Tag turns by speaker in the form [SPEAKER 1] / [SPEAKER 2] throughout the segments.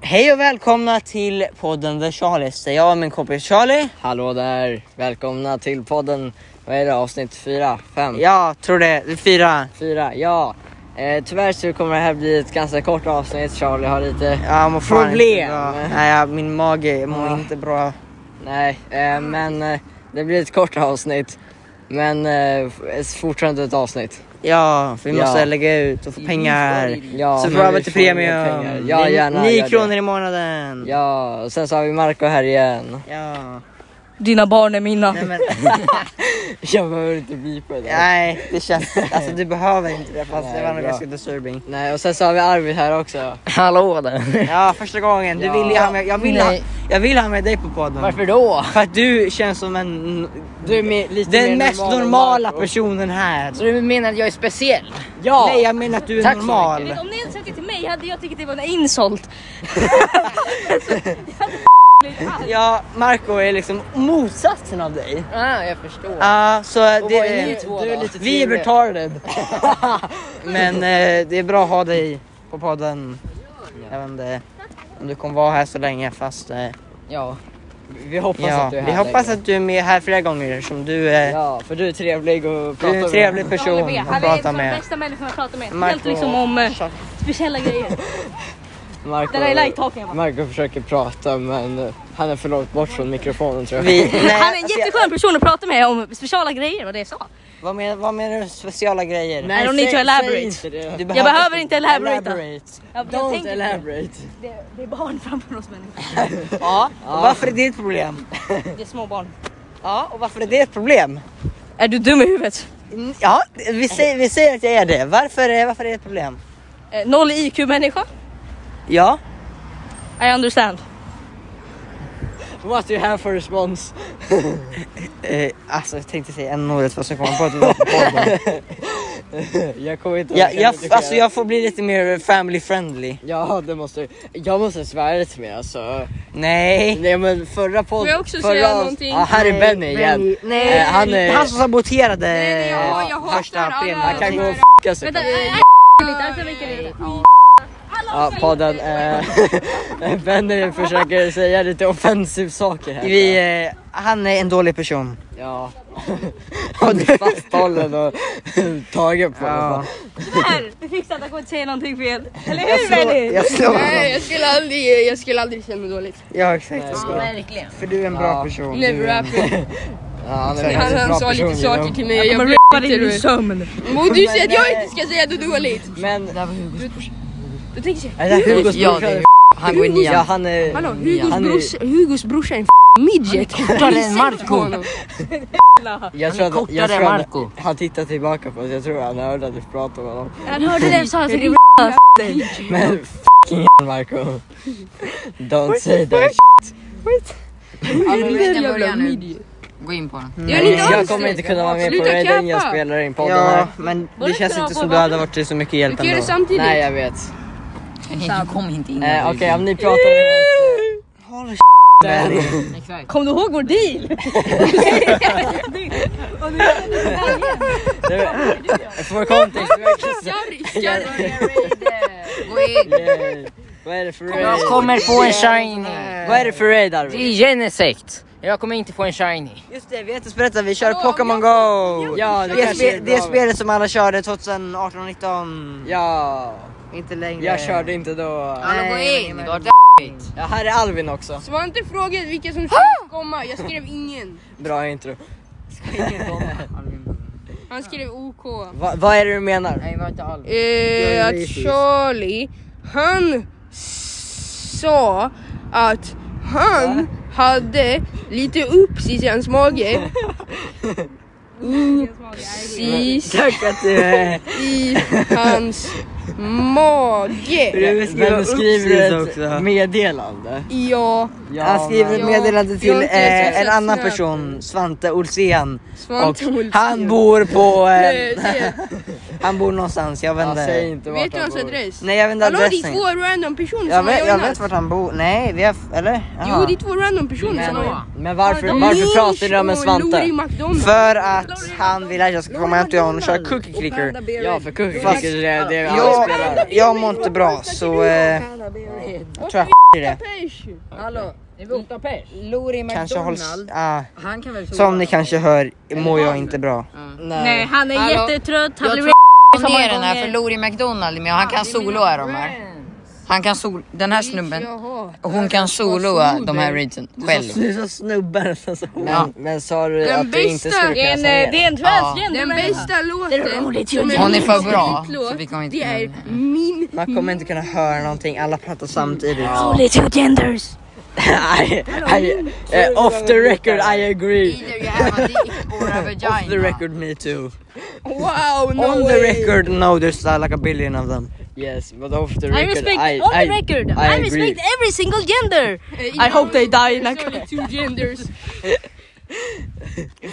[SPEAKER 1] Hej och välkomna till podden The Charlies där jag och min kompis Charlie.
[SPEAKER 2] Hallå där! Välkomna till podden, vad är det, avsnitt 4? 5?
[SPEAKER 1] Jag tror det, vi fyra.
[SPEAKER 2] 4, ja! Eh, tyvärr så kommer det här bli ett ganska kort avsnitt, Charlie har lite...
[SPEAKER 1] Jag mår fan
[SPEAKER 2] Problem.
[SPEAKER 1] Inte bra. Nej, jag- min mage jag mår
[SPEAKER 2] Ja.
[SPEAKER 1] inte bra.
[SPEAKER 2] Nej, eh, men eh, det blir ett kort avsnitt. Men eh, f- fortfarande ett avsnitt.
[SPEAKER 1] Ja, för vi
[SPEAKER 2] Ja.
[SPEAKER 1] måste lägga ut och få pengar.
[SPEAKER 2] Ja,
[SPEAKER 1] så
[SPEAKER 2] men
[SPEAKER 1] får jag
[SPEAKER 2] vi
[SPEAKER 1] väl till
[SPEAKER 2] får inga
[SPEAKER 1] premium.
[SPEAKER 2] pengar. Ja,
[SPEAKER 1] Det är
[SPEAKER 2] gärna.
[SPEAKER 1] nio
[SPEAKER 2] gör det.
[SPEAKER 1] kronor i månaden.
[SPEAKER 2] Ja, och sen så har vi Marco här igen.
[SPEAKER 1] Ja.
[SPEAKER 3] Dina barn är mina.
[SPEAKER 1] Nej, men,
[SPEAKER 2] Jag behöver inte blipa det. där.
[SPEAKER 1] nej, det känns... Alltså du behöver inte det fast det
[SPEAKER 2] Nej,
[SPEAKER 1] var nog
[SPEAKER 2] bra.
[SPEAKER 1] ganska disturbing.
[SPEAKER 2] Nej, och sen så har vi Arvid här också.
[SPEAKER 3] Hallå där.
[SPEAKER 1] Ja, första gången. Du
[SPEAKER 2] Ja.
[SPEAKER 1] vill ju ha med, jag, vill ha,
[SPEAKER 3] Nej.
[SPEAKER 1] jag vill ha med dig på podden.
[SPEAKER 2] då?
[SPEAKER 1] För att du känns som en
[SPEAKER 2] Du är med, lite
[SPEAKER 1] Den
[SPEAKER 2] mer
[SPEAKER 1] mest
[SPEAKER 2] normal än
[SPEAKER 1] normala
[SPEAKER 2] Marco.
[SPEAKER 1] personen här.
[SPEAKER 3] Så du menar att jag är speciell?
[SPEAKER 2] Ja!
[SPEAKER 1] Nej jag menar att du är
[SPEAKER 2] Tack så
[SPEAKER 1] normal.
[SPEAKER 3] Om ni hade sagt det till mig hade jag tyckt det var en insult.
[SPEAKER 1] Ja, Marco är liksom motsatsen av dig.
[SPEAKER 3] Ah, jag förstår.
[SPEAKER 1] Ja, så
[SPEAKER 2] Och
[SPEAKER 1] det,
[SPEAKER 2] vad är ni två
[SPEAKER 3] du är
[SPEAKER 2] då?
[SPEAKER 3] lite
[SPEAKER 1] vi är retarded. Men eh, det är bra att ha dig på podden. Jag vet inte om du kommer vara här så länge fast eh,
[SPEAKER 2] Ja. Vi hoppas
[SPEAKER 1] ja,
[SPEAKER 2] att du är
[SPEAKER 1] vi
[SPEAKER 2] här
[SPEAKER 1] hoppas
[SPEAKER 2] längre.
[SPEAKER 1] att du är med här flera gånger som du är,
[SPEAKER 2] Ja, för du är trevlig och
[SPEAKER 1] du är
[SPEAKER 2] pratar
[SPEAKER 1] en
[SPEAKER 2] med-
[SPEAKER 1] trevlig
[SPEAKER 3] Jag håller
[SPEAKER 1] person
[SPEAKER 3] med.
[SPEAKER 1] att
[SPEAKER 3] Han är en
[SPEAKER 1] prata
[SPEAKER 3] av de
[SPEAKER 1] med.
[SPEAKER 3] bästa människorna att prata med.
[SPEAKER 1] Marco-
[SPEAKER 3] Helt liksom om eh, speciella grejer.
[SPEAKER 2] Marco,
[SPEAKER 3] Den där är lighttaken va?
[SPEAKER 2] Marco försöker prata men eh, han är för långt bort från mikrofonen tror jag.
[SPEAKER 1] Vi, nej,
[SPEAKER 3] Han är en
[SPEAKER 1] alltså,
[SPEAKER 3] jätteskön person att prata med om speciella grejer och det jag sa.
[SPEAKER 1] vad, menar, vad menar du speciella grejer?
[SPEAKER 3] I don't need to elaborate.
[SPEAKER 1] Du
[SPEAKER 3] Jag behöver inte elaborate. Jag, jag
[SPEAKER 2] Don't
[SPEAKER 3] tänker, det,
[SPEAKER 2] elaborate.
[SPEAKER 3] det är barn framför oss människor.
[SPEAKER 1] Ja, och varför är det ett problem?
[SPEAKER 3] Det är små barn.
[SPEAKER 1] Ja, och varför är det ett problem?
[SPEAKER 3] Är du dum i huvudet?
[SPEAKER 1] Mm, Ja, vi säger, vi säger att jag är det. Varför, är- varför är det ett problem?
[SPEAKER 3] Eh, Noll IQ-människa?
[SPEAKER 1] Ja,
[SPEAKER 3] I understand.
[SPEAKER 2] What do you have for response?
[SPEAKER 1] eh, alltså jag tänkte säga en ordet fast jag kom på att det var på podden.
[SPEAKER 2] jag kommer inte
[SPEAKER 1] jag,
[SPEAKER 2] orka
[SPEAKER 1] jag,
[SPEAKER 2] redigera.
[SPEAKER 1] alltså jag får bli lite mer family friendly.
[SPEAKER 2] Ja det måste Jag måste svära lite mer alltså.
[SPEAKER 1] Nej.
[SPEAKER 2] Nej men förra podden.
[SPEAKER 3] Får jag också
[SPEAKER 2] förra
[SPEAKER 3] säga
[SPEAKER 2] avs-
[SPEAKER 3] någonting?
[SPEAKER 2] Ja, här är Benny igen.
[SPEAKER 1] Nej,
[SPEAKER 2] Eh, han är-
[SPEAKER 1] han som saboterade
[SPEAKER 3] Nej, jag- jag
[SPEAKER 1] eh,
[SPEAKER 3] hatar
[SPEAKER 1] första
[SPEAKER 3] alla-
[SPEAKER 1] premien.
[SPEAKER 2] Han kan gå och f***a sig.
[SPEAKER 3] Vänta,
[SPEAKER 2] själv.
[SPEAKER 3] nej, lite. Alltså, vilka lite.
[SPEAKER 2] Ja podden. Eh, Benny försöker säga lite offensiv saker här.
[SPEAKER 1] Vi, eh, han är en dålig person.
[SPEAKER 2] Ja. Han blir fasthållen och tagen på
[SPEAKER 1] Ja.
[SPEAKER 2] ja.
[SPEAKER 3] Tyvärr, du fick Santa Claus säga någonting fel. Eller
[SPEAKER 1] Jag
[SPEAKER 3] hur
[SPEAKER 1] slår,
[SPEAKER 3] Benny?
[SPEAKER 1] jag slår honom.
[SPEAKER 4] Nej, jag skulle aldrig, jag skulle aldrig känna mig dåligt.
[SPEAKER 1] Ja exakt, jag slår.
[SPEAKER 3] Verkligen.
[SPEAKER 1] För du är en bra
[SPEAKER 2] Ja.
[SPEAKER 1] person.
[SPEAKER 4] Never
[SPEAKER 1] Du är en-
[SPEAKER 4] happen.
[SPEAKER 2] Ja, han är en
[SPEAKER 4] Han,
[SPEAKER 2] väldigt
[SPEAKER 4] han
[SPEAKER 2] bra
[SPEAKER 4] sa lite
[SPEAKER 2] person,
[SPEAKER 4] saker
[SPEAKER 2] Gino.
[SPEAKER 4] till mig och jag
[SPEAKER 3] kommer
[SPEAKER 4] blev
[SPEAKER 3] rappa dig ur
[SPEAKER 4] jätterolig.
[SPEAKER 3] sömn.
[SPEAKER 4] Och du säger att jag inte ska säga något dåligt.
[SPEAKER 2] Men
[SPEAKER 4] Då tänker jag
[SPEAKER 2] är det där Hugos
[SPEAKER 5] Ja,
[SPEAKER 2] brorsa?
[SPEAKER 5] det är-
[SPEAKER 2] eller
[SPEAKER 5] Han går i nian.
[SPEAKER 2] Ja han är...
[SPEAKER 4] hallå Hugos,
[SPEAKER 2] han är-
[SPEAKER 4] brors, Hugos brorsa är en f- midget. Har
[SPEAKER 5] kortare
[SPEAKER 4] du
[SPEAKER 5] än
[SPEAKER 4] sett på
[SPEAKER 5] Marco.
[SPEAKER 4] honom?
[SPEAKER 2] Jag
[SPEAKER 5] är
[SPEAKER 2] tror att,
[SPEAKER 5] kortare
[SPEAKER 2] jag tror
[SPEAKER 5] än
[SPEAKER 2] att
[SPEAKER 5] Marco.
[SPEAKER 2] han tittar tillbaka på oss, jag tror han hörde att vi pratade om honom.
[SPEAKER 3] Han hörde det och sa att han
[SPEAKER 2] Men fucking Marco. Don't say that
[SPEAKER 5] Den
[SPEAKER 4] Jävla
[SPEAKER 5] börjar nu.
[SPEAKER 4] midget.
[SPEAKER 5] Gå in på den.
[SPEAKER 4] Jag vill inte ha
[SPEAKER 2] Jag
[SPEAKER 4] det.
[SPEAKER 2] kommer inte kunna vara med på
[SPEAKER 4] Sluta
[SPEAKER 2] Raiden, jag
[SPEAKER 4] klappa.
[SPEAKER 2] spelar in podden
[SPEAKER 1] Ja,
[SPEAKER 2] här.
[SPEAKER 1] men det
[SPEAKER 3] Borde
[SPEAKER 1] känns
[SPEAKER 3] kunna
[SPEAKER 1] inte
[SPEAKER 3] vara
[SPEAKER 1] som
[SPEAKER 3] på
[SPEAKER 1] du hade varit till så mycket
[SPEAKER 4] Du
[SPEAKER 1] hjälp
[SPEAKER 4] kan göra det
[SPEAKER 1] ändå.
[SPEAKER 4] samtidigt.
[SPEAKER 2] Nej jag vet.
[SPEAKER 5] Du kom inte in.
[SPEAKER 2] Eh, Okej om ni pratar om
[SPEAKER 1] Håll käften.
[SPEAKER 3] Kom du ihåg vår deal?
[SPEAKER 2] For context, vi har kissat.
[SPEAKER 4] Sorry, sorry.
[SPEAKER 5] Gå in.
[SPEAKER 2] Yay. Vad är det för
[SPEAKER 5] Jag
[SPEAKER 2] raid?
[SPEAKER 5] kommer få en shiny.
[SPEAKER 2] Vad är det för raid Arvid?
[SPEAKER 5] Det är Genesect. Jag kommer inte få en shiny.
[SPEAKER 1] Just det, vi har inte berättat, vi kör
[SPEAKER 4] Hallå,
[SPEAKER 1] Pokémon Go!
[SPEAKER 2] Ja, det
[SPEAKER 1] det, är
[SPEAKER 2] kanske
[SPEAKER 1] spe-
[SPEAKER 2] är
[SPEAKER 1] det är
[SPEAKER 2] bra.
[SPEAKER 1] spelet som alla körde 2018, 19
[SPEAKER 2] Ja,
[SPEAKER 1] Inte längre.
[SPEAKER 2] jag körde inte då.
[SPEAKER 5] Hallå gå
[SPEAKER 1] Nej,
[SPEAKER 5] in.
[SPEAKER 1] men-
[SPEAKER 5] Du har d-
[SPEAKER 2] Ja, här är Alvin också.
[SPEAKER 4] Svara inte frågan vilka som skulle komma. Jag skrev ingen.
[SPEAKER 2] Bra intro.
[SPEAKER 4] Han skrev OK.
[SPEAKER 2] Va, vad är det du menar?
[SPEAKER 5] Nej, var inte all.
[SPEAKER 4] Eh, att Charlie, han sa att han hade lite ups i hans mage. Upsis
[SPEAKER 2] Tack att du är...
[SPEAKER 4] i hans mage.
[SPEAKER 2] Men du skriver ett meddelande.
[SPEAKER 4] Ja,
[SPEAKER 2] Ja,
[SPEAKER 1] Han skriver ett
[SPEAKER 4] Ja,
[SPEAKER 1] meddelande
[SPEAKER 4] jag
[SPEAKER 1] till
[SPEAKER 4] har inte ens
[SPEAKER 1] eh, en
[SPEAKER 4] sett
[SPEAKER 1] annan
[SPEAKER 4] snö.
[SPEAKER 1] person, Svante Olsén.
[SPEAKER 4] Svante
[SPEAKER 1] och
[SPEAKER 4] Olsén.
[SPEAKER 1] han bor på...
[SPEAKER 4] Eh,
[SPEAKER 1] Eh,
[SPEAKER 4] det-
[SPEAKER 1] Han bor någonstans, jag vet
[SPEAKER 2] Ja, säg
[SPEAKER 1] inte.
[SPEAKER 2] inte
[SPEAKER 4] Vet
[SPEAKER 2] vart
[SPEAKER 4] du
[SPEAKER 2] han
[SPEAKER 4] hans
[SPEAKER 2] bor.
[SPEAKER 4] adress?
[SPEAKER 1] Nej jag vet inte
[SPEAKER 4] Hallå det är
[SPEAKER 1] adressen.
[SPEAKER 4] två random personer
[SPEAKER 1] Jag
[SPEAKER 4] som
[SPEAKER 1] vet, jag
[SPEAKER 4] har
[SPEAKER 1] vet
[SPEAKER 4] joinat.
[SPEAKER 1] vart han bor. Nej, vi har... Eller?
[SPEAKER 4] Jo
[SPEAKER 1] Jaha.
[SPEAKER 4] det är två random personer som har joinat.
[SPEAKER 2] Men varför,
[SPEAKER 3] Ja, de-
[SPEAKER 2] varför pratar du med Svante?
[SPEAKER 1] För att han vill att jag ska komma hem till honom och köra cookie clicker.
[SPEAKER 2] Ja för kuken
[SPEAKER 1] Fast-
[SPEAKER 2] det är det han
[SPEAKER 1] Jag,
[SPEAKER 2] spelar.
[SPEAKER 1] jag mår inte bra så... Eh, jag tror jag i det.
[SPEAKER 6] Hallå,
[SPEAKER 5] Det var åtta pers.
[SPEAKER 6] Lori
[SPEAKER 1] Kanske hålls...
[SPEAKER 6] McDonald.
[SPEAKER 1] Ah,
[SPEAKER 6] Han kan väl
[SPEAKER 1] som ni kanske hör mår jag inte bra.
[SPEAKER 3] Nej, han är
[SPEAKER 5] Hallå?
[SPEAKER 3] jättetrött. Han
[SPEAKER 5] Jag
[SPEAKER 3] blir
[SPEAKER 5] tror
[SPEAKER 3] så
[SPEAKER 6] Hon
[SPEAKER 3] många
[SPEAKER 6] ner den här för
[SPEAKER 3] gånger.
[SPEAKER 6] Lori McDonald, men han kan soloa de här. Han kan sol... Den här snubben, hon kan soloa de här readsen själv.
[SPEAKER 1] Du är så snubben. Alltså.
[SPEAKER 2] Men, men sa du
[SPEAKER 4] Den
[SPEAKER 2] att du inte
[SPEAKER 4] bästa-
[SPEAKER 2] skulle
[SPEAKER 3] Det är
[SPEAKER 2] kunna
[SPEAKER 3] en,
[SPEAKER 2] säga
[SPEAKER 3] eh, det
[SPEAKER 2] det?
[SPEAKER 3] är en transgender
[SPEAKER 4] Den
[SPEAKER 3] människa.
[SPEAKER 4] bästa låten som
[SPEAKER 6] Hon är för
[SPEAKER 4] min
[SPEAKER 6] bra,
[SPEAKER 4] favoritlåt,
[SPEAKER 6] så vi kommer inte
[SPEAKER 4] Det
[SPEAKER 6] kunna
[SPEAKER 4] är
[SPEAKER 6] göra
[SPEAKER 4] min
[SPEAKER 1] Man kommer inte kunna höra någonting, alla pratar samtidigt.
[SPEAKER 2] I, I, eh, off the record I agree.
[SPEAKER 6] Either you have a dick or a
[SPEAKER 2] Off the
[SPEAKER 6] vagina.
[SPEAKER 2] record me too.
[SPEAKER 4] Wow no
[SPEAKER 1] On the
[SPEAKER 4] way.
[SPEAKER 1] record no there's uh, like a billion of them.
[SPEAKER 2] Yes, but off the
[SPEAKER 3] I
[SPEAKER 2] record
[SPEAKER 3] respect
[SPEAKER 2] I,
[SPEAKER 3] on
[SPEAKER 2] I,
[SPEAKER 3] the record.
[SPEAKER 2] I
[SPEAKER 3] I,
[SPEAKER 2] agree.
[SPEAKER 3] respect every single gender.
[SPEAKER 4] Eh,
[SPEAKER 3] I hope they die
[SPEAKER 4] there's
[SPEAKER 3] like-
[SPEAKER 4] only two genders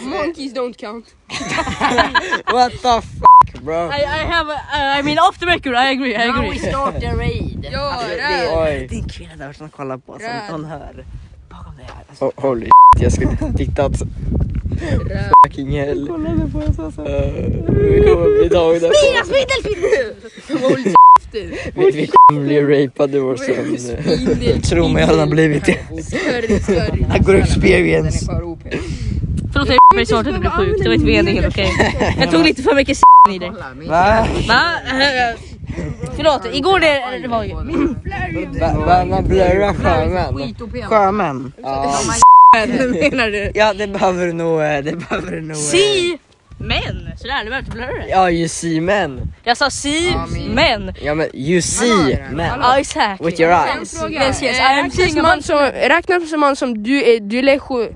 [SPEAKER 4] Monkeys don't count
[SPEAKER 2] What the fuck bro?
[SPEAKER 3] I, I have. A, uh, I mean, off the record. I agree. I
[SPEAKER 5] Now we
[SPEAKER 3] agree.
[SPEAKER 5] start the raid. Alltså,
[SPEAKER 4] Ja,
[SPEAKER 1] Det
[SPEAKER 4] röd.
[SPEAKER 1] är, det är en kvinna där som kollar på oss,
[SPEAKER 4] Röd.
[SPEAKER 1] hon hör. Alltså,
[SPEAKER 2] Oh, holy shit, jag skulle tittat. Fucking hell. Eh, vi kommer bli tagna.
[SPEAKER 3] Mina spindelfitta!
[SPEAKER 2] Vi, vi kommer bli rapade i vår sömn. eh,
[SPEAKER 1] Tro mig, jag hade blivit det.
[SPEAKER 4] Större, större.
[SPEAKER 1] I got experience.
[SPEAKER 3] Förlåt jag mig snart att det blir sjuk. Det var inte meningen okej. Jag tog lite för mycket s i dig.
[SPEAKER 1] Va?
[SPEAKER 3] Va? Förlåt, igår det, det var ju...
[SPEAKER 2] Va- va- Man blurrar skärmen.
[SPEAKER 1] Sjömän.
[SPEAKER 2] Ja.
[SPEAKER 4] Menar du?
[SPEAKER 1] Ja det behöver du nog, eh, det behöver du nog. eh.
[SPEAKER 3] Si men! Sådär, nu behöver jag inte blurra det.
[SPEAKER 2] Ja, you see men.
[SPEAKER 3] Jag sa si men.
[SPEAKER 2] Ja men you see men.
[SPEAKER 3] Ja exakt.
[SPEAKER 2] With your eyes.
[SPEAKER 3] Yes, yes, I
[SPEAKER 4] Eh,
[SPEAKER 3] am
[SPEAKER 4] räknas
[SPEAKER 3] seeing a
[SPEAKER 4] man
[SPEAKER 3] bunch
[SPEAKER 4] som, räknas man som du är delego-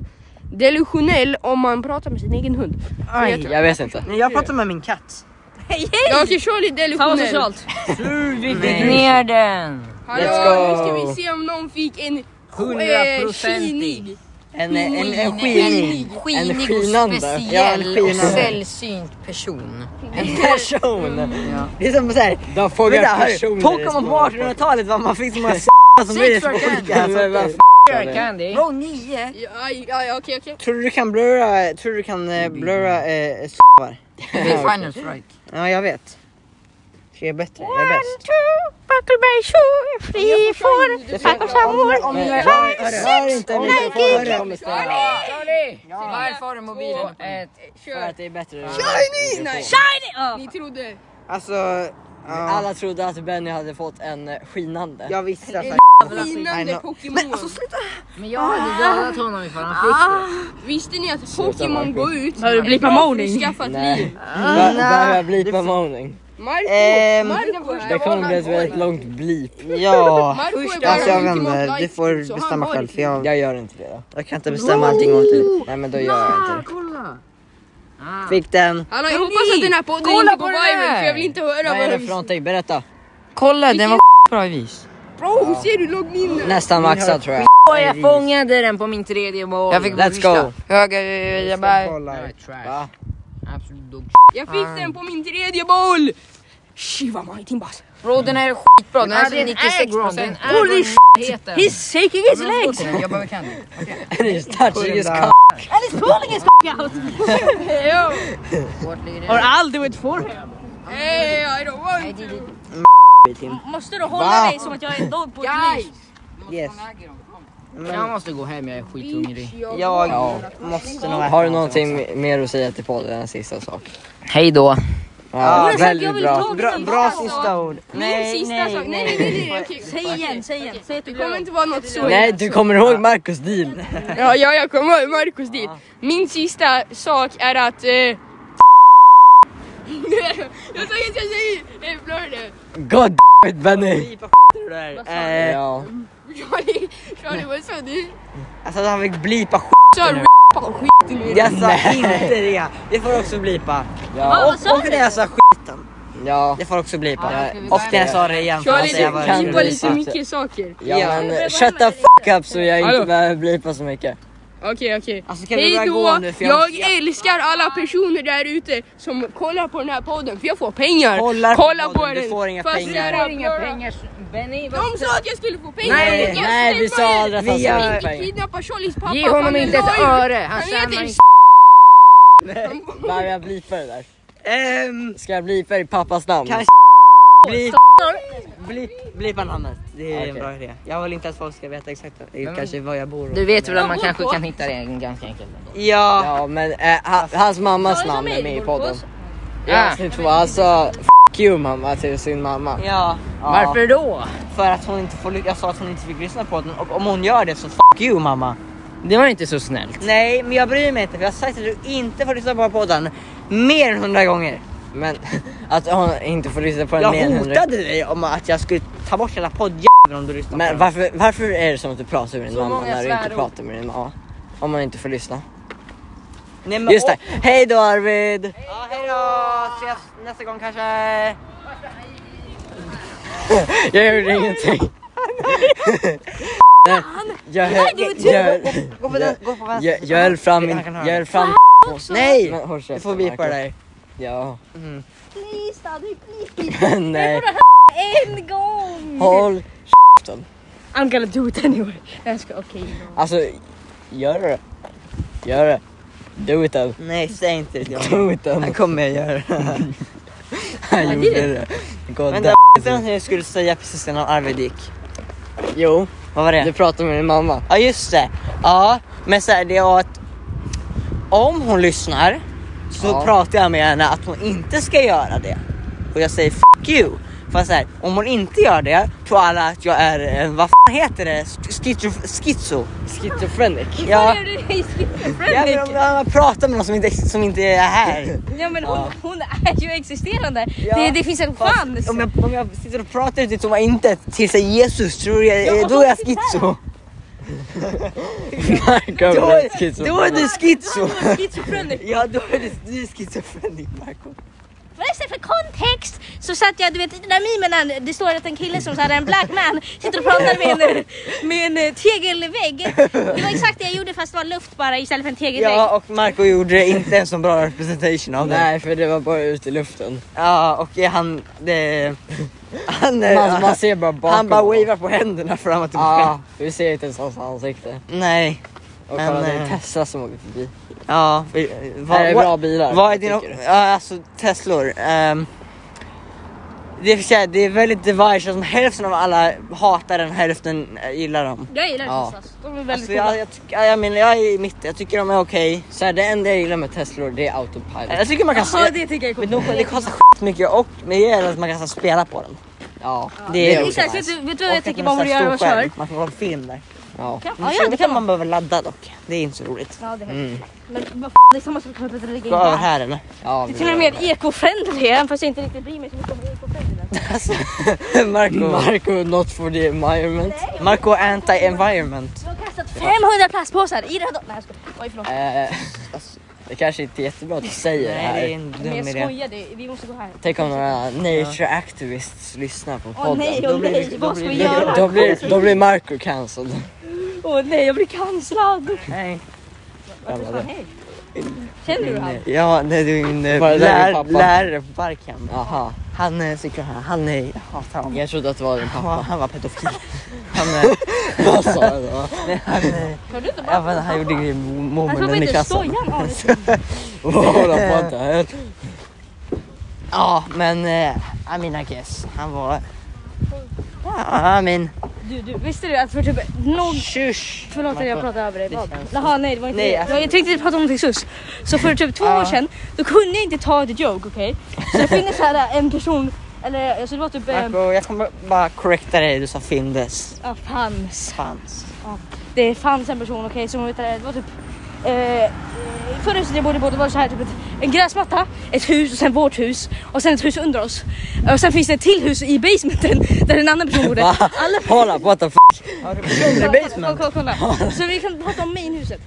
[SPEAKER 4] delusionell om man pratar med sin egen hund?
[SPEAKER 1] Aj.
[SPEAKER 2] Jag vet inte.
[SPEAKER 1] Nej, Jag pratar med min katt.
[SPEAKER 3] Hej
[SPEAKER 4] Ja,
[SPEAKER 3] hej!
[SPEAKER 4] Okej, Charlie är
[SPEAKER 3] Fan vad
[SPEAKER 4] delusionell.
[SPEAKER 3] socialt.
[SPEAKER 1] Nej.
[SPEAKER 5] Viktigt ner den.
[SPEAKER 4] Hallå,
[SPEAKER 2] Let's go.
[SPEAKER 4] nu ska vi se om någon fick en eh,
[SPEAKER 5] 100%.
[SPEAKER 4] kinig.
[SPEAKER 1] En, en, en, en skinig.
[SPEAKER 6] Skinig
[SPEAKER 2] En
[SPEAKER 6] och
[SPEAKER 2] skinande. Ja, en
[SPEAKER 6] speciell och
[SPEAKER 2] skinande.
[SPEAKER 6] sällsynt person.
[SPEAKER 1] En person. Det är som såhär,
[SPEAKER 2] De fångar
[SPEAKER 1] vänta hörru,
[SPEAKER 2] personer. i
[SPEAKER 1] Pokémon på
[SPEAKER 2] små-
[SPEAKER 1] 1800-talet var man fick så många s som blev
[SPEAKER 6] Sex
[SPEAKER 1] så
[SPEAKER 6] verkar.
[SPEAKER 1] sjuka.
[SPEAKER 2] Men vad
[SPEAKER 1] Alltså.
[SPEAKER 2] f-
[SPEAKER 5] Sure, Candy.
[SPEAKER 6] Bro, nio!
[SPEAKER 4] Ja, ja, ja, okej, okej.
[SPEAKER 1] Tror du du kan blurra, tror du du kan eh, blurra eh, s-
[SPEAKER 6] Det är final strike.
[SPEAKER 1] Ja jag vet. Så jag är bättre, jag är bäst.
[SPEAKER 3] Fri får...
[SPEAKER 1] Om jag rör inte mikrofonen.
[SPEAKER 6] Varför har du mobilen?
[SPEAKER 5] Ett,
[SPEAKER 2] För
[SPEAKER 4] Kör.
[SPEAKER 2] att det är bättre.
[SPEAKER 4] Nej,
[SPEAKER 3] Shiny! Ja.
[SPEAKER 4] ni trodde.
[SPEAKER 1] Alltså, ja,
[SPEAKER 2] Alla trodde att Benny hade fått en eh, skinande.
[SPEAKER 1] jag visste att I
[SPEAKER 4] Skinande
[SPEAKER 1] know.
[SPEAKER 4] Pokémon.
[SPEAKER 5] Men jag hade dödat honom ifall han fick det.
[SPEAKER 4] Visste ni att
[SPEAKER 2] Marco.
[SPEAKER 4] Pokémon går ut?
[SPEAKER 3] Har du blippat moaning?
[SPEAKER 4] Skaffat liv.
[SPEAKER 2] Nej. Be- Behöver jag bleepa moaning?
[SPEAKER 4] Marco,
[SPEAKER 1] Ehm,
[SPEAKER 4] Marco är
[SPEAKER 2] Det kommer bli ett väldigt
[SPEAKER 4] bara-
[SPEAKER 2] långt bleep.
[SPEAKER 1] Ja,
[SPEAKER 4] Marco är bara
[SPEAKER 1] alltså jag
[SPEAKER 4] Ultimate
[SPEAKER 1] vänder. Du
[SPEAKER 4] Light, så
[SPEAKER 1] får
[SPEAKER 4] han
[SPEAKER 1] bestämma
[SPEAKER 4] var
[SPEAKER 1] själv
[SPEAKER 4] inte-
[SPEAKER 1] för jag,
[SPEAKER 2] Jag gör inte det då.
[SPEAKER 1] jag kan inte bestämma allting åt
[SPEAKER 2] Nej men då gör jag inte det.
[SPEAKER 1] dig. Fick den.
[SPEAKER 4] Hallå, jag hoppas att den här podden
[SPEAKER 5] Kolla
[SPEAKER 4] inte
[SPEAKER 5] på
[SPEAKER 4] går
[SPEAKER 5] den
[SPEAKER 4] viral
[SPEAKER 5] här.
[SPEAKER 4] för jag vill inte höra
[SPEAKER 2] Vad är det
[SPEAKER 4] de-
[SPEAKER 2] för någonting? Berätta.
[SPEAKER 6] Kolla, den var bra i vis.
[SPEAKER 4] Bro, ser du logg in?
[SPEAKER 2] Nästan maxad tror jag.
[SPEAKER 5] Och jag fångade den på min tredje boll.
[SPEAKER 6] Jag fick
[SPEAKER 2] Let's go.
[SPEAKER 6] Höger, jag bara...
[SPEAKER 5] Det var
[SPEAKER 1] Kolla.
[SPEAKER 5] trash.
[SPEAKER 2] Va?
[SPEAKER 5] Absolut dog.
[SPEAKER 4] Jag fick den på min tredje boll! Shiva Mightin Bass.
[SPEAKER 6] Bro, den här är skitbra. Den
[SPEAKER 5] Den
[SPEAKER 6] är
[SPEAKER 5] hade en
[SPEAKER 6] 96
[SPEAKER 5] äggron. Den
[SPEAKER 6] procent.
[SPEAKER 5] är Holy shit!
[SPEAKER 3] He's shaking his legs!
[SPEAKER 6] Jag behöver Candy.
[SPEAKER 2] And he's touching his cock.
[SPEAKER 3] And he's pulling his out! Or I'll do it for him!
[SPEAKER 4] Hey, I don't want to.
[SPEAKER 3] Måste du hålla
[SPEAKER 1] Va?
[SPEAKER 3] dig som att jag är en dog på
[SPEAKER 4] Guys.
[SPEAKER 3] ett
[SPEAKER 1] Yes.
[SPEAKER 5] Jag måste gå hem, jag är skithungrig.
[SPEAKER 1] Jag måste nog äta
[SPEAKER 2] Har du
[SPEAKER 1] något också.
[SPEAKER 2] någonting mer att säga till podden? En sista sak.
[SPEAKER 5] Hej då.
[SPEAKER 1] Ja,
[SPEAKER 2] Ja,
[SPEAKER 3] jag
[SPEAKER 2] väldigt
[SPEAKER 3] vill
[SPEAKER 2] bra.
[SPEAKER 3] ta-
[SPEAKER 1] Bra, bra sista ord.
[SPEAKER 4] Min sista sak. Nej, nej, nej, nej, okej.
[SPEAKER 3] Säg igen, säg igen. Säg att du
[SPEAKER 4] Det kommer
[SPEAKER 3] klarar
[SPEAKER 4] inte vara något så.
[SPEAKER 2] Nej, du kommer ihåg Marcus deal?
[SPEAKER 4] Ja, ja, jag kommer ihåg ecco, Marcus dit. Min sista sak är att... Eh... jag sa inte jag säger... Nej, blör det.
[SPEAKER 2] God it Benny!
[SPEAKER 1] Eh,
[SPEAKER 2] Ja.
[SPEAKER 4] Charlie, Charlie, vad sa du?
[SPEAKER 1] Alltså att han fick blipa skit.
[SPEAKER 4] Sa ripa och skit i
[SPEAKER 1] Jag sa inte det. Det får också blipa.
[SPEAKER 2] Ja.
[SPEAKER 1] Och, och när jag sa skiten.
[SPEAKER 2] Ja.
[SPEAKER 1] Det får också blipa.
[SPEAKER 2] Ja,
[SPEAKER 1] Och när jag sa det igen. får jag
[SPEAKER 4] Charlie,
[SPEAKER 1] säga vad det Alltså,
[SPEAKER 4] du blippar
[SPEAKER 1] skulle
[SPEAKER 4] lite
[SPEAKER 1] bli.
[SPEAKER 4] mycket saker.
[SPEAKER 2] Ja men shut the fuck up så jag inte behöver blipa så mycket.
[SPEAKER 4] Okej okej.
[SPEAKER 1] Alltså kan vi
[SPEAKER 4] Hej
[SPEAKER 1] börja gå
[SPEAKER 4] då!
[SPEAKER 1] nu för jag,
[SPEAKER 4] Jag älskar alla personer där ute som kollar på den här podden för jag får pengar.
[SPEAKER 1] Kollar på
[SPEAKER 4] Kolla på
[SPEAKER 1] podden, du
[SPEAKER 4] den.
[SPEAKER 1] får inga
[SPEAKER 4] Fast
[SPEAKER 1] pengar.
[SPEAKER 4] jag
[SPEAKER 5] Du får inga
[SPEAKER 4] får-
[SPEAKER 5] pengar. Benny, vad
[SPEAKER 4] De sa att jag skulle få pengar.
[SPEAKER 1] Nej,
[SPEAKER 4] Jag
[SPEAKER 1] nej, vi
[SPEAKER 4] filmar
[SPEAKER 1] sa
[SPEAKER 4] er.
[SPEAKER 1] aldrig att han
[SPEAKER 4] Vi
[SPEAKER 1] skulle få
[SPEAKER 4] gick-
[SPEAKER 1] pengar.
[SPEAKER 4] kidnappar Charlies pappa.
[SPEAKER 5] Ge honom
[SPEAKER 4] Han är
[SPEAKER 5] inte ett
[SPEAKER 4] lojal.
[SPEAKER 5] öre. Han
[SPEAKER 4] heter
[SPEAKER 5] tjänar
[SPEAKER 4] s-
[SPEAKER 5] inte.
[SPEAKER 2] Varför jag blipar det där?
[SPEAKER 1] Ehm,
[SPEAKER 2] Ska jag blipa i pappas namn?
[SPEAKER 1] Kanske. blip, blip, blipa namnet. Det är en
[SPEAKER 2] Okej.
[SPEAKER 1] bra idé. Jag vill inte att folk ska veta exakt eh, kanske var jag bor. och-
[SPEAKER 6] Du vet väl att man
[SPEAKER 4] Jag går
[SPEAKER 6] kanske
[SPEAKER 4] på.
[SPEAKER 6] kan hitta det en- ganska enkelt? ändå.
[SPEAKER 1] Ja.
[SPEAKER 2] Ja men eh, ha, hans mammas namn är med i podden. Ja
[SPEAKER 6] Ah.
[SPEAKER 2] typ så, alltså f**k you mamma till sin mamma.
[SPEAKER 1] Ja,
[SPEAKER 6] Varför då?
[SPEAKER 1] för att hon inte får ly- Jag sa att hon inte fick lyssna på den och om hon gör det så fuck you mamma.
[SPEAKER 6] Det var inte så snällt.
[SPEAKER 1] Nej, men jag bryr mig inte för jag har sagt att du inte får lyssna på podden mer än hundra gånger.
[SPEAKER 2] Men att hon inte får lyssna på den
[SPEAKER 1] Jag
[SPEAKER 2] mer än hundra-
[SPEAKER 1] hotade dig om att jag skulle ta bort hela poddjäveln om du lyssnar på
[SPEAKER 2] Men
[SPEAKER 1] den.
[SPEAKER 2] varför, varför är det som att du pratar med din mamma
[SPEAKER 5] många
[SPEAKER 2] när du inte
[SPEAKER 5] svärord.
[SPEAKER 2] pratar med din mamma? Om man inte får lyssna.
[SPEAKER 1] Nej, men
[SPEAKER 2] Just det,
[SPEAKER 1] och-
[SPEAKER 2] hej då Arvid!
[SPEAKER 1] Ja, hej då! Ses nästa gång kanske.
[SPEAKER 2] Jag gjorde ingenting. Nej, jag höll, jag,
[SPEAKER 1] typ- Gå på den, gå på vänster.
[SPEAKER 2] jag, jag höll fram min,
[SPEAKER 1] Han kan höra
[SPEAKER 2] jag höll fram
[SPEAKER 1] Nej!
[SPEAKER 2] Men håll
[SPEAKER 1] Du
[SPEAKER 2] käften,
[SPEAKER 1] får Mm. bipa det
[SPEAKER 2] Marcus.
[SPEAKER 1] där.
[SPEAKER 2] Ja.
[SPEAKER 7] Please Danny, please.
[SPEAKER 2] Nej,
[SPEAKER 7] En gång!
[SPEAKER 2] håll
[SPEAKER 3] I'm gonna do it anyway.
[SPEAKER 2] Alltså, gör det. Gör det. Do it then.
[SPEAKER 1] Nej, säg inte det till honom.
[SPEAKER 2] Do it then.
[SPEAKER 1] Han kommer jag göra.
[SPEAKER 2] Han gjorde det. God
[SPEAKER 1] Vänta,
[SPEAKER 2] damn.
[SPEAKER 1] det var någonting jag skulle säga precis innan Arvid gick.
[SPEAKER 2] Jo,
[SPEAKER 1] Vad var det?
[SPEAKER 2] du pratar med din mamma.
[SPEAKER 1] Ja just det. Ja, men så här, det är att om hon lyssnar så
[SPEAKER 2] Ja.
[SPEAKER 1] pratar jag med henne att hon inte ska göra det. Och jag säger fuck you. Fast så här, om hon inte gör det tror alla att jag är, eh, vad fan heter det? Schizo? schizo.
[SPEAKER 2] Schizofrenic.
[SPEAKER 1] Ja,
[SPEAKER 3] Är du schizofrenic?
[SPEAKER 1] jag vill om jag pratar med någon som inte, som inte är här.
[SPEAKER 3] Ja men hon, hon är ju existerande.
[SPEAKER 1] Ja,
[SPEAKER 3] det, det finns en chans.
[SPEAKER 1] Om jag, om jag sitter och pratar till tomma intet till sig Jesus tror jag, eh, då är jag schizo. Då är, då är du schizo.
[SPEAKER 3] Schizofrenic.
[SPEAKER 1] Ja då är du, du är schizofrenik Marco.
[SPEAKER 7] Förresten för kontext så satt jag, du vet i den där memen när det står att en kille som så hade en black man sitter och pratar med en, med en eh, tegelvägg. Det var exakt det jag gjorde fast det var luft bara istället för en tegelvägg.
[SPEAKER 1] Ja och Marco gjorde inte en så bra representation av det.
[SPEAKER 2] Nej, för det var bara ut i luften.
[SPEAKER 1] Ja och han, det, han, eh,
[SPEAKER 2] Man, man ser bara bakom.
[SPEAKER 1] han bara
[SPEAKER 2] honom.
[SPEAKER 1] wavar på händerna fram och tillbaka.
[SPEAKER 2] Ja, vi ser inte ens hans ansikte.
[SPEAKER 1] Nej,
[SPEAKER 2] Och
[SPEAKER 1] Men,
[SPEAKER 2] kolla, det
[SPEAKER 1] eh,
[SPEAKER 2] är Tessa som åker förbi.
[SPEAKER 1] ja. vi-
[SPEAKER 2] Det här är
[SPEAKER 1] vad-
[SPEAKER 2] bra bilar.
[SPEAKER 1] Vad är
[SPEAKER 2] jag
[SPEAKER 1] dina,
[SPEAKER 2] tycker.
[SPEAKER 1] ja, alltså Teslor. ehm, det, är för sig- det är väldigt divided, som hälften av alla hatar den, hälften eh, gillar dem.
[SPEAKER 3] Jag gillar
[SPEAKER 2] Ja.
[SPEAKER 3] det förstås. De är väldigt
[SPEAKER 1] Alltså, jag, jag, tycker- jag, menar jag är i mitten, jag tycker de är okej.
[SPEAKER 2] Så här, det enda jag gillar med Teslor det är autopilot.
[SPEAKER 1] Jag tycker man kan,
[SPEAKER 3] Ja det tycker jag är
[SPEAKER 1] men
[SPEAKER 3] coolt.
[SPEAKER 1] de, det kostar skitmycket och men det är att man kan så här spela på den.
[SPEAKER 2] Ja,
[SPEAKER 1] Det är
[SPEAKER 3] Exakt, vet
[SPEAKER 1] nice.
[SPEAKER 3] du, vet du
[SPEAKER 1] Och
[SPEAKER 3] vad
[SPEAKER 1] att
[SPEAKER 3] jag tänker
[SPEAKER 1] man
[SPEAKER 3] på om du
[SPEAKER 1] så här
[SPEAKER 3] gör och
[SPEAKER 1] står själv.
[SPEAKER 3] kör?
[SPEAKER 1] Man kan kolla på film där.
[SPEAKER 2] ja.
[SPEAKER 3] Ja, ja, det kan man.
[SPEAKER 1] man behöver ladda dock. Det är inte så roligt.
[SPEAKER 3] Ja, det är-
[SPEAKER 2] Mm.
[SPEAKER 3] Men vad f- det är samma sak som att lägga in
[SPEAKER 1] Gå över
[SPEAKER 3] där.
[SPEAKER 1] här eller?
[SPEAKER 2] ja
[SPEAKER 3] Det är till och med eco-friendly även fast jag inte riktigt bryr mig så mycket om eco-friendly.
[SPEAKER 1] Alltså, Marco.
[SPEAKER 2] Marco, not for the environment.
[SPEAKER 1] Marco anti-environment.
[SPEAKER 3] Jag har kastat 500 plastpåsar i röda... Nej jag skojar. Oj
[SPEAKER 1] Äh,
[SPEAKER 3] förlåt.
[SPEAKER 2] Eh, det kanske inte är jättebra att säga det
[SPEAKER 1] Nej det är
[SPEAKER 2] här.
[SPEAKER 1] en
[SPEAKER 3] Men
[SPEAKER 1] dum
[SPEAKER 3] jag
[SPEAKER 1] idé.
[SPEAKER 3] skojade, vi måste gå här.
[SPEAKER 2] Tänk om några nature activists lyssnar på
[SPEAKER 3] Åh
[SPEAKER 2] podden.
[SPEAKER 3] nej,
[SPEAKER 1] Då
[SPEAKER 3] åh
[SPEAKER 1] blir
[SPEAKER 3] nej,
[SPEAKER 1] det- då
[SPEAKER 3] vad ska
[SPEAKER 1] blir det-
[SPEAKER 3] vi göra?
[SPEAKER 2] Då blir, då blir Marco cancelled.
[SPEAKER 3] Åh nej, jag blir cancellad.
[SPEAKER 1] Nej.
[SPEAKER 3] Vart är fan hej? Känner du han?
[SPEAKER 1] Ja det är min eh,
[SPEAKER 2] Var det där
[SPEAKER 1] lär,
[SPEAKER 2] din pappa?
[SPEAKER 1] lärare på Barkham.
[SPEAKER 2] Aha,
[SPEAKER 1] Han eh, cyklar här. Han är... Jag hatar honom.
[SPEAKER 2] jag trodde att det var din pappa.
[SPEAKER 1] Han, han var pedofil. Han, eh,
[SPEAKER 2] Vad sa jag då?
[SPEAKER 1] han, eh,
[SPEAKER 3] Hör du inte bara?
[SPEAKER 1] jag vet, inte, han gjorde grejer med
[SPEAKER 3] Han sa bara
[SPEAKER 1] mormonen i
[SPEAKER 3] inte
[SPEAKER 1] klassen.
[SPEAKER 3] sojan av oss.
[SPEAKER 2] Hålla på inte här.
[SPEAKER 1] Ja men eh, I mean I guess. Han var... Ja, I mean...
[SPEAKER 3] Du, du, visste du att för typ någon...
[SPEAKER 1] Tjush!
[SPEAKER 3] Förlåt att jag
[SPEAKER 1] Marco.
[SPEAKER 3] pratade över dig.
[SPEAKER 1] Det
[SPEAKER 3] Vad?
[SPEAKER 1] känns-
[SPEAKER 3] Jaha nej det var inte
[SPEAKER 1] Nej,
[SPEAKER 3] det.
[SPEAKER 1] alltså-
[SPEAKER 3] Jag tänkte prata om någonting sus. Så för typ två
[SPEAKER 1] Ja.
[SPEAKER 3] år sedan då kunde jag inte ta ett joke okej. Så det finns så här eh, en person, eller alltså det var typ... eh, ah,
[SPEAKER 1] Marco jag kommer bara correcta dig. Du sa findes.
[SPEAKER 3] Ja fanns.
[SPEAKER 1] Fanns.
[SPEAKER 3] det fanns en person okej som vet du, det var typ eh, förra huset jag bodde på det var så här typ ett, en gräsmatta, ett hus och sen vårt hus och sen ett hus under oss. Och sen finns det ett till hus i basementen där en annan person bodde. Alla
[SPEAKER 2] Hålla, what the f***?
[SPEAKER 3] kolla, kolla, kolla, kolla, kolla. Så vi kan prata om mainhuset.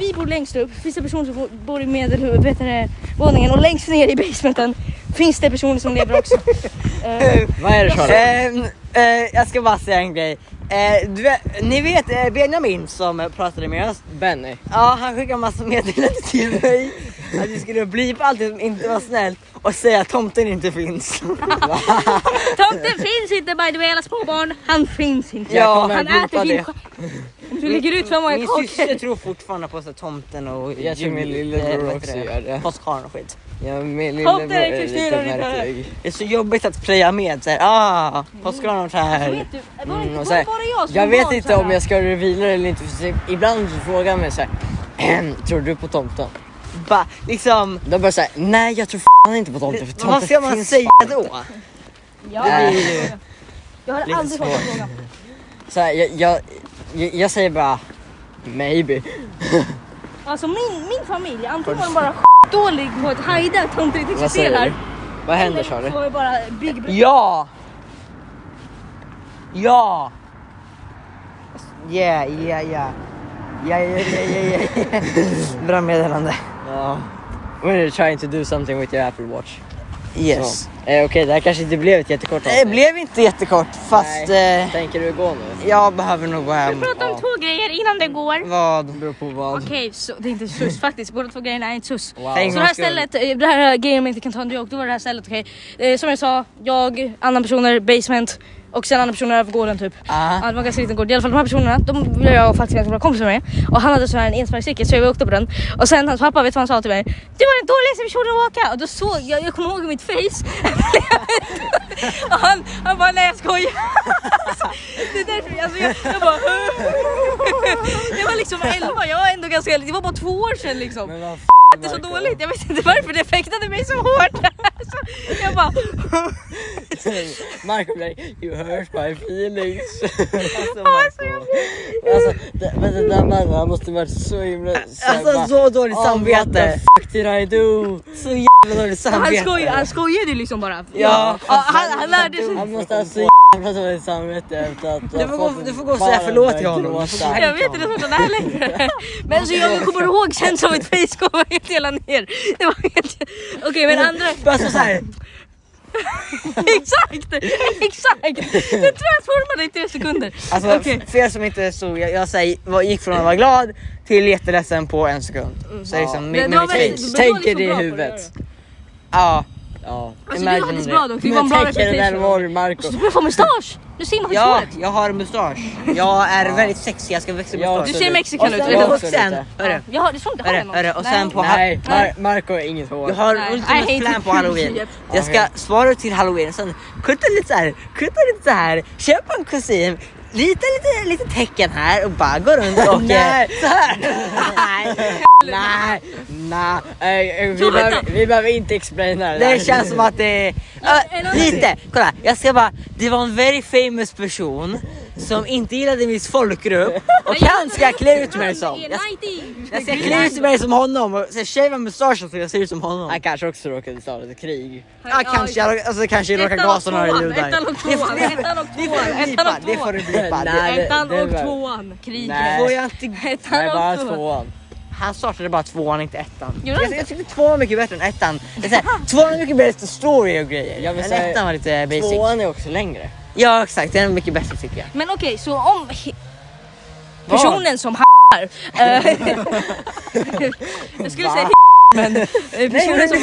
[SPEAKER 3] Vi bor längst upp, finns det personer som bo- bor i medelvåningen och längst ner i basementen finns det personer som lever också. Eh,
[SPEAKER 2] Vad är det Charlie?
[SPEAKER 1] Ehm, eh, jag ska bara säga en grej. Eh, du vet, ni vet eh, Benjamin som eh, pratade med oss?
[SPEAKER 2] Benny.
[SPEAKER 1] Ja, han skickade massa meddelanden till mig att vi skulle bli på allt som inte var snällt och säga att tomten inte finns.
[SPEAKER 3] Tomten finns inte by the way alla småbarn. Han finns inte.
[SPEAKER 1] Ja,
[SPEAKER 3] han
[SPEAKER 1] men ropa
[SPEAKER 3] äter din
[SPEAKER 1] det.
[SPEAKER 3] sk- Du lägger ut för många
[SPEAKER 1] Min syster
[SPEAKER 3] kakor.
[SPEAKER 1] tror fortfarande på så här, tomten och
[SPEAKER 2] Jag tror min
[SPEAKER 1] jul-
[SPEAKER 2] lillebror
[SPEAKER 1] eh, vad heter
[SPEAKER 2] också gör det.
[SPEAKER 1] Påskharn och skit.
[SPEAKER 2] Ja, min
[SPEAKER 1] Hopp,
[SPEAKER 2] lillebror
[SPEAKER 1] där är
[SPEAKER 2] är lite
[SPEAKER 1] Kristina, lite
[SPEAKER 2] märklig.
[SPEAKER 1] Det är så jobbigt att playa med såhär, ah, påskgranen här.
[SPEAKER 3] Vet du, var
[SPEAKER 2] Mm,
[SPEAKER 3] det inte-
[SPEAKER 2] och
[SPEAKER 3] var
[SPEAKER 2] så
[SPEAKER 3] det
[SPEAKER 2] här,
[SPEAKER 3] bara jag som
[SPEAKER 2] jag
[SPEAKER 3] var
[SPEAKER 2] vet inte
[SPEAKER 3] barn Alltså, så här?
[SPEAKER 2] om jag ska revila eller inte för typ, ibland så frågar han mig såhär Tror du på tomten?
[SPEAKER 1] Bara liksom,
[SPEAKER 2] Då bara såhär, nej jag tror fan inte på tomten för tomten
[SPEAKER 1] vad ska man
[SPEAKER 2] finns
[SPEAKER 1] säga då?
[SPEAKER 3] Ja, jag
[SPEAKER 1] Lite
[SPEAKER 3] har aldrig fått
[SPEAKER 1] svårt.
[SPEAKER 3] en fråga.
[SPEAKER 2] Så här, jag, jag, jag, jag säger bara maybe.
[SPEAKER 3] Alltså min, min familj, antingen var de bara dålig på att hajda att tomten inte
[SPEAKER 2] Vad säger
[SPEAKER 3] existerar.
[SPEAKER 2] du? Vad händer
[SPEAKER 3] Eller
[SPEAKER 2] sa
[SPEAKER 3] så
[SPEAKER 2] du?
[SPEAKER 3] var vi bara big brother.
[SPEAKER 1] Ja! Ja! Yeah, yeah, yeah. Yeah, yeah, yeah, yeah, yeah. Bra meddelande.
[SPEAKER 2] Ja. We're trying to do something with your Apple Watch.
[SPEAKER 1] Yes.
[SPEAKER 2] Så. Eh, Okej, det här kanske inte blev ett jättekort
[SPEAKER 1] Det blev inte jättekort fast eh,
[SPEAKER 2] Tänker du gå nu?
[SPEAKER 1] jag behöver nog gå hem.
[SPEAKER 3] Prata om två grejer innan det går.
[SPEAKER 1] Vad?
[SPEAKER 2] Beror på vad.
[SPEAKER 3] Okej, så det är inte sus faktiskt. Båda två grejerna är inte sus.
[SPEAKER 2] Wow.
[SPEAKER 1] Tänk
[SPEAKER 3] Så det här
[SPEAKER 1] om jag skulle-
[SPEAKER 3] stället, eh, det här grejen man inte kan ta en joke, då var det här stället okej. Eh, som jag sa, jag, andra personer, basement och sen andra personer över gården typ.
[SPEAKER 1] Ah.
[SPEAKER 3] Ja, det var en ganska liten gård. I alla fall de här personerna, de blev jag faktiskt ganska bra kompisar med. Och han hade så här en elsparkcykel så jag åkte på den. Och sen hans pappa, vet du vad han sa till mig? Du var den dåligaste personen att åka! Och då såg jag, jag kommer ihåg mitt face. och han, han bara nej jag skojar. Alltså, det är därför, alltså jag, jag bara... jag var liksom 11, jag var ändå ganska... Det var bara två år sedan liksom
[SPEAKER 2] Men vad
[SPEAKER 3] det är så dåligt, jag vet inte varför det fäktade mig så hårt. Alltså, jag bara,
[SPEAKER 2] Marco blir you hurt my feelings.
[SPEAKER 1] Alltså, Marco.
[SPEAKER 2] alltså, det, men den där mannen han måste varit så himla... så här bara,
[SPEAKER 1] Alltså så dåligt
[SPEAKER 2] "Oh, What
[SPEAKER 1] samvete.
[SPEAKER 2] the fuck did I do?
[SPEAKER 1] Så jävla dåligt
[SPEAKER 3] han,
[SPEAKER 1] samvete.
[SPEAKER 3] skoj, han skojade ju liksom bara.
[SPEAKER 1] Ja.
[SPEAKER 3] Ja, han, han lärde sig.
[SPEAKER 2] Han måste ha så jävla dåligt samvete efter att...
[SPEAKER 1] Du får gå- du får gå och säga förlåt till honom. Du får gå hem.
[SPEAKER 3] Jag vet inte sånt där längre. Men så jag kommer ihåg sen som ett face kom helt hela ner. Det var helt... Okej men andra,
[SPEAKER 1] Bara Alltså, så såhär.
[SPEAKER 3] exakt! Exakt! Det transformade i tre sekunder.
[SPEAKER 1] Alltså
[SPEAKER 3] Okej.
[SPEAKER 1] för er som inte såg, jag, jag säger, var- gick från att vara glad till jätteledsen på en sekund. Så liksom med, med
[SPEAKER 3] Mm. Men det var
[SPEAKER 1] mitt
[SPEAKER 3] väldigt-
[SPEAKER 1] face.
[SPEAKER 3] men
[SPEAKER 2] Tänk
[SPEAKER 3] då är
[SPEAKER 2] er
[SPEAKER 3] vi
[SPEAKER 2] det i
[SPEAKER 3] så bra på att
[SPEAKER 2] huvudet.
[SPEAKER 1] Ja,
[SPEAKER 2] Ja.
[SPEAKER 3] Alltså det var
[SPEAKER 1] imagine
[SPEAKER 3] faktiskt
[SPEAKER 1] det.
[SPEAKER 3] bra dock, det var
[SPEAKER 2] Men
[SPEAKER 3] en bra
[SPEAKER 2] tänk er den där
[SPEAKER 3] representation.
[SPEAKER 2] var Marco.
[SPEAKER 3] Du börjar få mustasch! Nu ser man
[SPEAKER 1] ja
[SPEAKER 3] håret.
[SPEAKER 1] jag har mustasch. Jag är väldigt sexig, jag ska växa
[SPEAKER 2] Ja,
[SPEAKER 1] mustasch.
[SPEAKER 3] Du
[SPEAKER 2] absolut.
[SPEAKER 3] ser mexikan ut,
[SPEAKER 1] Och
[SPEAKER 2] Jag
[SPEAKER 1] sen,
[SPEAKER 3] eller
[SPEAKER 1] och
[SPEAKER 2] också
[SPEAKER 1] sen,
[SPEAKER 2] lite.
[SPEAKER 1] hörru,
[SPEAKER 3] Jag har, det tror inte jag har
[SPEAKER 1] hörru,
[SPEAKER 3] någon.
[SPEAKER 1] hörru, och sen på
[SPEAKER 2] Nej, Mar Marco har inget hår.
[SPEAKER 1] Jag har
[SPEAKER 3] Nej. I hate
[SPEAKER 1] ultimat plan
[SPEAKER 3] it.
[SPEAKER 1] på halloween.
[SPEAKER 3] Japp.
[SPEAKER 1] Jag ska
[SPEAKER 2] Okej.
[SPEAKER 1] svara till halloween sen kutta lite så här, kutta lite så här, köpa en kostym, lite, lite, lite tecken här och bara gå runt och... eh,
[SPEAKER 2] Nej.
[SPEAKER 1] Så här. Nej, nej, nej.
[SPEAKER 2] Nej, eh, vi,
[SPEAKER 3] Jo, vänta.
[SPEAKER 2] behöver, vi behöver inte explaina det där.
[SPEAKER 1] Det känns som att det är...
[SPEAKER 3] en
[SPEAKER 1] Ja,
[SPEAKER 3] annan
[SPEAKER 1] lite! Kolla, jag ska bara... Det var en very famous person som inte gillade min folkgrupp och han ska jag klä ut mig som. Jag, jag ska klä ut mig som honom och så shava mustaschen så jag ser ut som honom.
[SPEAKER 2] Han kanske också råkade ta lite krig.
[SPEAKER 1] Ja, kanske jag alltså, kanske jag råkar
[SPEAKER 3] Ettan och
[SPEAKER 1] gasa några
[SPEAKER 3] tvåan,
[SPEAKER 1] ljud där.
[SPEAKER 3] ettan och
[SPEAKER 1] Det får- det-
[SPEAKER 3] tvåan, ettan och
[SPEAKER 1] det får
[SPEAKER 3] tvåan,
[SPEAKER 1] du
[SPEAKER 3] ettan och
[SPEAKER 1] blipa, Det får du
[SPEAKER 2] tvåan.
[SPEAKER 1] blipa. Det-
[SPEAKER 2] Nej.
[SPEAKER 3] Ettan
[SPEAKER 2] det
[SPEAKER 3] och
[SPEAKER 2] var-
[SPEAKER 3] tvåan, kriget.
[SPEAKER 2] Nej.
[SPEAKER 1] Får jag inte...
[SPEAKER 3] Ettan
[SPEAKER 2] Nej, bara
[SPEAKER 3] och tvåan.
[SPEAKER 2] tvåan.
[SPEAKER 1] Han startade bara tvåan, inte ettan.
[SPEAKER 3] Gjorde han
[SPEAKER 1] Jag, jag tyckte tvåan var mycket bättre än ettan. Det är så här, tvåan är mycket bättre story och grejer.
[SPEAKER 2] Jag vill
[SPEAKER 1] men
[SPEAKER 2] säga-
[SPEAKER 1] ettan var lite basic.
[SPEAKER 2] Tvåan är också längre.
[SPEAKER 1] Ja exakt, den är mycket bättre tycker jag.
[SPEAKER 3] Men okej, så om he- personen som har eh, Jag skulle säga men eh, personen som,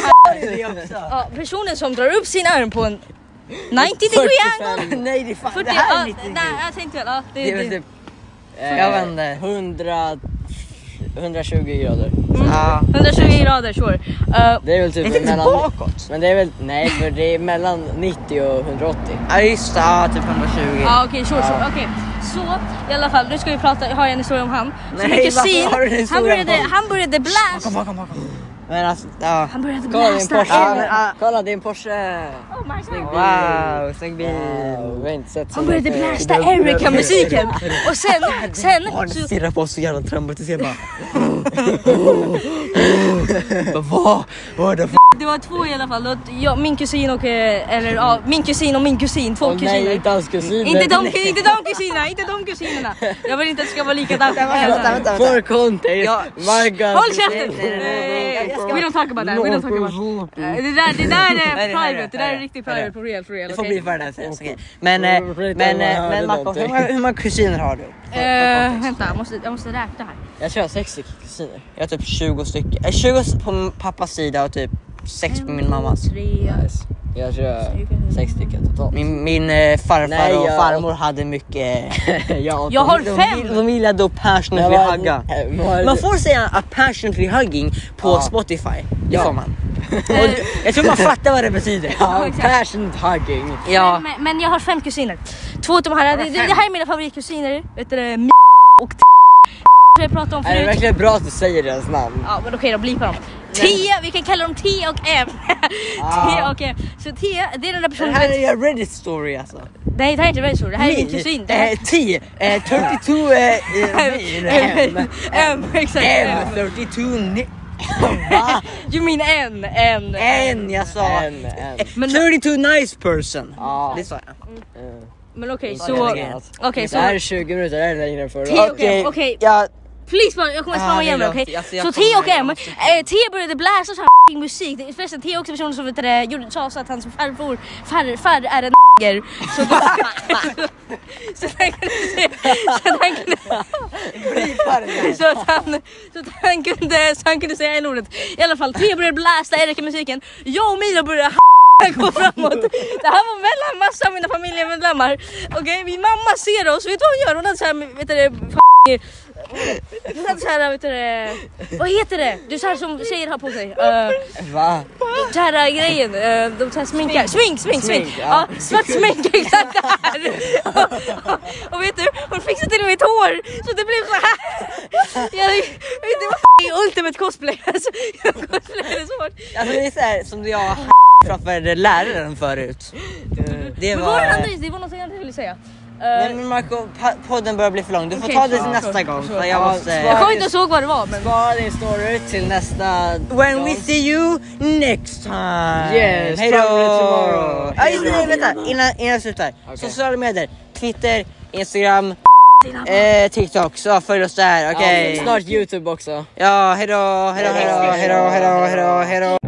[SPEAKER 3] ja, personen som drar upp sin arm på en 90 degree angle.
[SPEAKER 2] eh,
[SPEAKER 1] Nej det är fan,
[SPEAKER 3] 40,
[SPEAKER 1] det här är
[SPEAKER 3] ja,
[SPEAKER 1] 90
[SPEAKER 3] nej, jag tänkte väl, ja, det,
[SPEAKER 2] Det är
[SPEAKER 3] det,
[SPEAKER 2] väl typ... eh,
[SPEAKER 1] Jag vet inte.
[SPEAKER 2] 100... 120 grader.
[SPEAKER 1] Ja.
[SPEAKER 3] 120 grader, sure. Eh,
[SPEAKER 2] Det är väl typ
[SPEAKER 1] Är det inte
[SPEAKER 2] mellan...
[SPEAKER 1] bakåt?
[SPEAKER 2] Men det är väl... Nej, för det är mellan 90 och 180.
[SPEAKER 1] Ja just det, ja, typ 120.
[SPEAKER 3] Ja ah, okej, sure, sure. Okej. Så i alla fall, nu ska vi prata, har jag en historia om han.
[SPEAKER 1] Nej,
[SPEAKER 3] så min
[SPEAKER 1] varför
[SPEAKER 3] kusin,
[SPEAKER 1] har du en historia
[SPEAKER 3] han började,
[SPEAKER 1] om honom?
[SPEAKER 3] han började blast.
[SPEAKER 1] Men alltså, ja.
[SPEAKER 3] Han började
[SPEAKER 2] Kolla din
[SPEAKER 3] blasta.
[SPEAKER 2] Porsche!
[SPEAKER 1] Ja, men, ah.
[SPEAKER 2] Kolla din Porsche!
[SPEAKER 3] Oh my God.
[SPEAKER 1] Wow, snygg bil.
[SPEAKER 2] Wow, vi har inte sett så
[SPEAKER 3] Han började
[SPEAKER 2] mycket.
[SPEAKER 3] blasta Erica-musiken. Och sen, sen,
[SPEAKER 1] Barnen
[SPEAKER 3] så,
[SPEAKER 1] stirrar på oss så jävla traumatiserade bara. Vad? Vad the f
[SPEAKER 3] Det var två i alla fall. Och jag, min kusin och... eh, Eller ja, min kusin och min kusin. Två
[SPEAKER 2] Åh nej,
[SPEAKER 3] kusiner.
[SPEAKER 2] inte hans kusiner.
[SPEAKER 3] Inte de, inte de kusinerna, inte de kusinerna. Jag vill inte att det ska vara likadant.
[SPEAKER 2] For context. My god.
[SPEAKER 3] Håll käften! Nej, We don't talk about that, we don't talk about that. Eh, Det där, det där
[SPEAKER 1] Mm. Nej,
[SPEAKER 3] är
[SPEAKER 1] det här är-
[SPEAKER 3] private, det där är riktigt
[SPEAKER 1] det här är-
[SPEAKER 3] private for real, for real.
[SPEAKER 1] Det får
[SPEAKER 3] okej?
[SPEAKER 1] bli för det här sen. okej. Men, eh,
[SPEAKER 2] Jag
[SPEAKER 1] men,
[SPEAKER 2] vet
[SPEAKER 1] men,
[SPEAKER 2] inte om jag hörde
[SPEAKER 1] men Marco, hur
[SPEAKER 2] någonting.
[SPEAKER 1] många, hur många kusiner har du?
[SPEAKER 3] Eh, vänta, jag måste, jag måste räkna här.
[SPEAKER 1] Jag tror jag har 60 kusiner. Jag har typ 20 stycken. eh, 20 på min pappas sida och typ 6 på min mammas.
[SPEAKER 3] Tre,
[SPEAKER 2] Jag kör sex stycken totalt.
[SPEAKER 1] Min, min eh, farfar
[SPEAKER 2] Nej,
[SPEAKER 1] och
[SPEAKER 2] jag-
[SPEAKER 1] farmor hade mycket...
[SPEAKER 2] Jag,
[SPEAKER 3] Jag har
[SPEAKER 1] de,
[SPEAKER 3] fem!
[SPEAKER 1] De gillade att passionately hugga.
[SPEAKER 2] Eh,
[SPEAKER 1] Man får säga passionately hugging på
[SPEAKER 2] Ja.
[SPEAKER 1] Spotify. Det
[SPEAKER 2] Ja.
[SPEAKER 1] får man. Och jag tror man fattar vad det betyder.
[SPEAKER 2] Ja, passionate hugging.
[SPEAKER 1] Ja.
[SPEAKER 3] Men, men jag har fem kusiner. Två utav de här, det, det, det här är mina favoritkusiner. Vet du det? M och T. Som jag pratade om
[SPEAKER 2] Är det
[SPEAKER 3] förut.
[SPEAKER 2] verkligen bra att du säger deras namn?
[SPEAKER 3] Ja men okej då, blipa dem. T, vi kan kalla dem T och M. T och M. Så T, det är den där
[SPEAKER 1] Ah. Det
[SPEAKER 3] personen
[SPEAKER 1] här är en Reddit story alltså.
[SPEAKER 3] Nej det här är inte Rachel, det här är min kusin. Det här
[SPEAKER 1] Eh, T, eh, 32 eh, eh, mil. M.
[SPEAKER 3] M, M, exakt.
[SPEAKER 1] M,
[SPEAKER 3] M.
[SPEAKER 1] 32 Eh, ni- Va?
[SPEAKER 3] You mean N, N.
[SPEAKER 1] N jag sa.
[SPEAKER 2] En, en.
[SPEAKER 1] 32 nice person.
[SPEAKER 2] Ja.
[SPEAKER 1] Det sa jag.
[SPEAKER 3] Men okej
[SPEAKER 1] Ja,
[SPEAKER 3] så,
[SPEAKER 1] det är det.
[SPEAKER 3] okej
[SPEAKER 2] Det
[SPEAKER 3] Eh, så.
[SPEAKER 2] här är 20 minuter, det här är längre än förra.
[SPEAKER 3] T och M, okej.
[SPEAKER 1] Ja,
[SPEAKER 3] Please bara, jag kommer
[SPEAKER 1] Ah,
[SPEAKER 3] spamma igen
[SPEAKER 1] det
[SPEAKER 3] mig
[SPEAKER 1] är
[SPEAKER 3] okej?
[SPEAKER 1] lugnt. Alltså, jag
[SPEAKER 3] Så T
[SPEAKER 1] kommer-
[SPEAKER 3] och M, eh, T började bläsa sån här f***ing musik. Det- Förresten T är också personen som vet du det, gjorde sa så att hans farbror, far, far är en n***er. Så då... så att han kunde... Så att han kunde... så, att han, så, att han kunde så han kunde säga en ordet I alla fall, T började blästa Erika-musiken. Jag och Mila började gå framåt. Det här var mellan massa av mina familjemedlemmar. Okej, min mamma ser oss. Vet du vad hon gör? Hon hade så här, vet du det, hon hade så här, vet du det, vad heter det? Du så här som tjejer har på sig. Uh,
[SPEAKER 2] Va?
[SPEAKER 3] så här uh, grejen, uh, de så här sminkar. Smink, smink, smink.
[SPEAKER 2] Smink,
[SPEAKER 3] Ja,
[SPEAKER 2] ja.
[SPEAKER 3] svart smink, exakt det här. Och, och, och vet du, hon fixade till mitt hår så det blev så här. Jag, det var f***ing ultimate cosplay. Alltså, jag cosplayade så hårt.
[SPEAKER 1] alltså det är såhär som jag framför läraren förut. Det
[SPEAKER 3] Men vad var det
[SPEAKER 1] var...
[SPEAKER 3] andra? Det var något jag ville säga. Eh,
[SPEAKER 1] Nej men Marco, pa- podden börjar bli för lång. Du får
[SPEAKER 3] Okej,
[SPEAKER 1] ta det
[SPEAKER 3] så-
[SPEAKER 1] till nästa gång. För jag
[SPEAKER 2] Ja,
[SPEAKER 1] måste...
[SPEAKER 3] jag kommer inte ihåg vad det var men...
[SPEAKER 2] Spara din story till nästa
[SPEAKER 1] When
[SPEAKER 2] gång.
[SPEAKER 1] we see you next time!
[SPEAKER 2] Yes,
[SPEAKER 1] Hejdå!
[SPEAKER 2] probably tomorrow.
[SPEAKER 1] Ja just det, nej, vänta innan, innan jag slutar. Sociala medier, Twitter, Instagram, eh, TikTok. Så följ oss där, okej?
[SPEAKER 2] Snart youtube också.
[SPEAKER 1] Ja, hejdå, hejdå, hejdå, hejdå, hejdå, hejdå, hejdå.